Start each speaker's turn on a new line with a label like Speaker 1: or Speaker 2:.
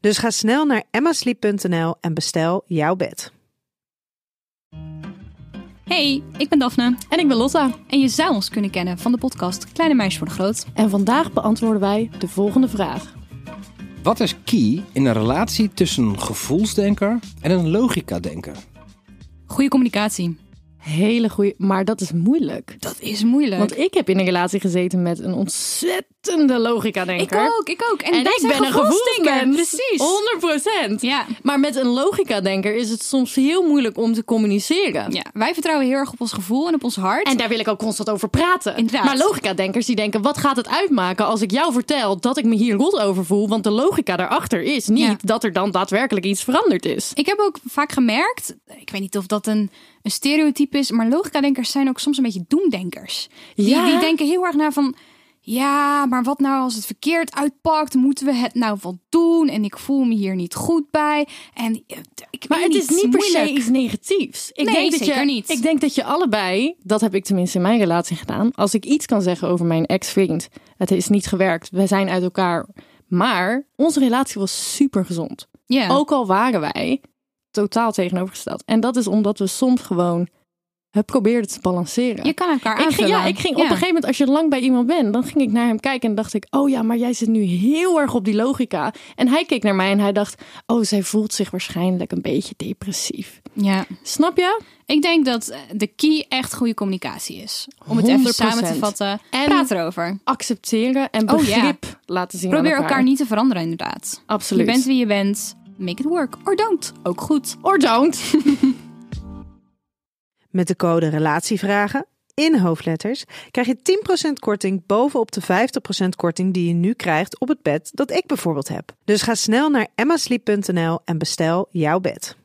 Speaker 1: Dus ga snel naar emmasleep.nl en bestel jouw bed.
Speaker 2: Hey, ik ben Daphne
Speaker 3: En ik ben Lotta.
Speaker 2: en je zou ons kunnen kennen van de podcast Kleine Meisjes voor de Groot.
Speaker 3: En vandaag beantwoorden wij de volgende vraag.
Speaker 4: Wat is key in een relatie tussen een gevoelsdenker en een logica-denker?
Speaker 2: Goede communicatie.
Speaker 3: Hele goede, maar dat is moeilijk.
Speaker 2: Dat is moeilijk.
Speaker 3: Want ik heb in een relatie gezeten met een ontzettende
Speaker 2: ik
Speaker 3: logica-denker.
Speaker 2: ook, ik ook. En,
Speaker 3: En
Speaker 2: wij
Speaker 3: ik
Speaker 2: zijn
Speaker 3: ben een
Speaker 2: gevoelsdenker.
Speaker 3: gevoelsmens.
Speaker 2: Precies.
Speaker 3: 100%.
Speaker 2: Ja.
Speaker 3: Maar met een logica-denker is het soms heel moeilijk om te communiceren.
Speaker 2: ja, wij vertrouwen heel erg op ons gevoel en op ons hart.
Speaker 3: En daar wil ik ook constant over praten.
Speaker 2: Inderdaad.
Speaker 3: Maar logica-denkers die denken, wat gaat het uitmaken als ik jou vertel dat ik me hier rot over voel? Want de logica daarachter is niet
Speaker 2: Ja.
Speaker 3: dat er dan daadwerkelijk iets veranderd is.
Speaker 2: Ik heb ook vaak gemerkt, ik weet niet of dat een, een stereotype is, maar logica-denkers zijn ook soms een beetje doemdenkers. Die,
Speaker 3: Ja.
Speaker 2: die denken heel erg naar van, ja, maar wat nou als het verkeerd uitpakt? Moeten we het nou wel doen? En ik voel me hier niet goed bij. En eh, ik
Speaker 3: Maar
Speaker 2: weet
Speaker 3: het is niet per se
Speaker 2: moeilijk.
Speaker 3: iets negatiefs. Ik
Speaker 2: Nee,
Speaker 3: dat
Speaker 2: zeker
Speaker 3: je,
Speaker 2: niet.
Speaker 3: Ik denk dat je allebei, dat heb ik tenminste in mijn relatie gedaan. Als ik iets kan zeggen over mijn ex-vriend, het is niet gewerkt, we zijn uit elkaar. Maar onze relatie was super gezond.
Speaker 2: Ja.
Speaker 3: Ook al waren wij totaal tegenovergesteld. En dat is omdat we soms gewoon het probeerden te balanceren.
Speaker 2: Je kan elkaar
Speaker 3: ik ging,
Speaker 2: aanvullen.
Speaker 3: ja, ik ging op een gegeven moment, als je lang bij iemand bent, dan ging ik naar hem kijken en dacht ik, oh ja, maar jij zit nu heel erg op die logica. En hij keek naar mij en hij dacht, oh, zij voelt zich waarschijnlijk een beetje depressief.
Speaker 2: Ja.
Speaker 3: Snap je?
Speaker 2: Ik denk dat eh, de key echt goede communicatie is. Om het even
Speaker 3: 100%.
Speaker 2: samen te vatten.
Speaker 3: En-
Speaker 2: Praat erover.
Speaker 3: Accepteren en
Speaker 2: Oh, ja.
Speaker 3: begrip laten zien.
Speaker 2: Probeer
Speaker 3: aan
Speaker 2: elkaar niet te veranderen, inderdaad.
Speaker 3: Absoluut.
Speaker 2: Je bent wie je bent. Make it work. Or don't. Ook goed.
Speaker 3: Or don't.
Speaker 1: Met de code RELATIEVRAGEN in hoofdletters krijg je 10% korting bovenop de 50% korting die je nu krijgt op het bed dat ik bijvoorbeeld heb. Dus ga snel naar emmasleep.nl en bestel jouw bed.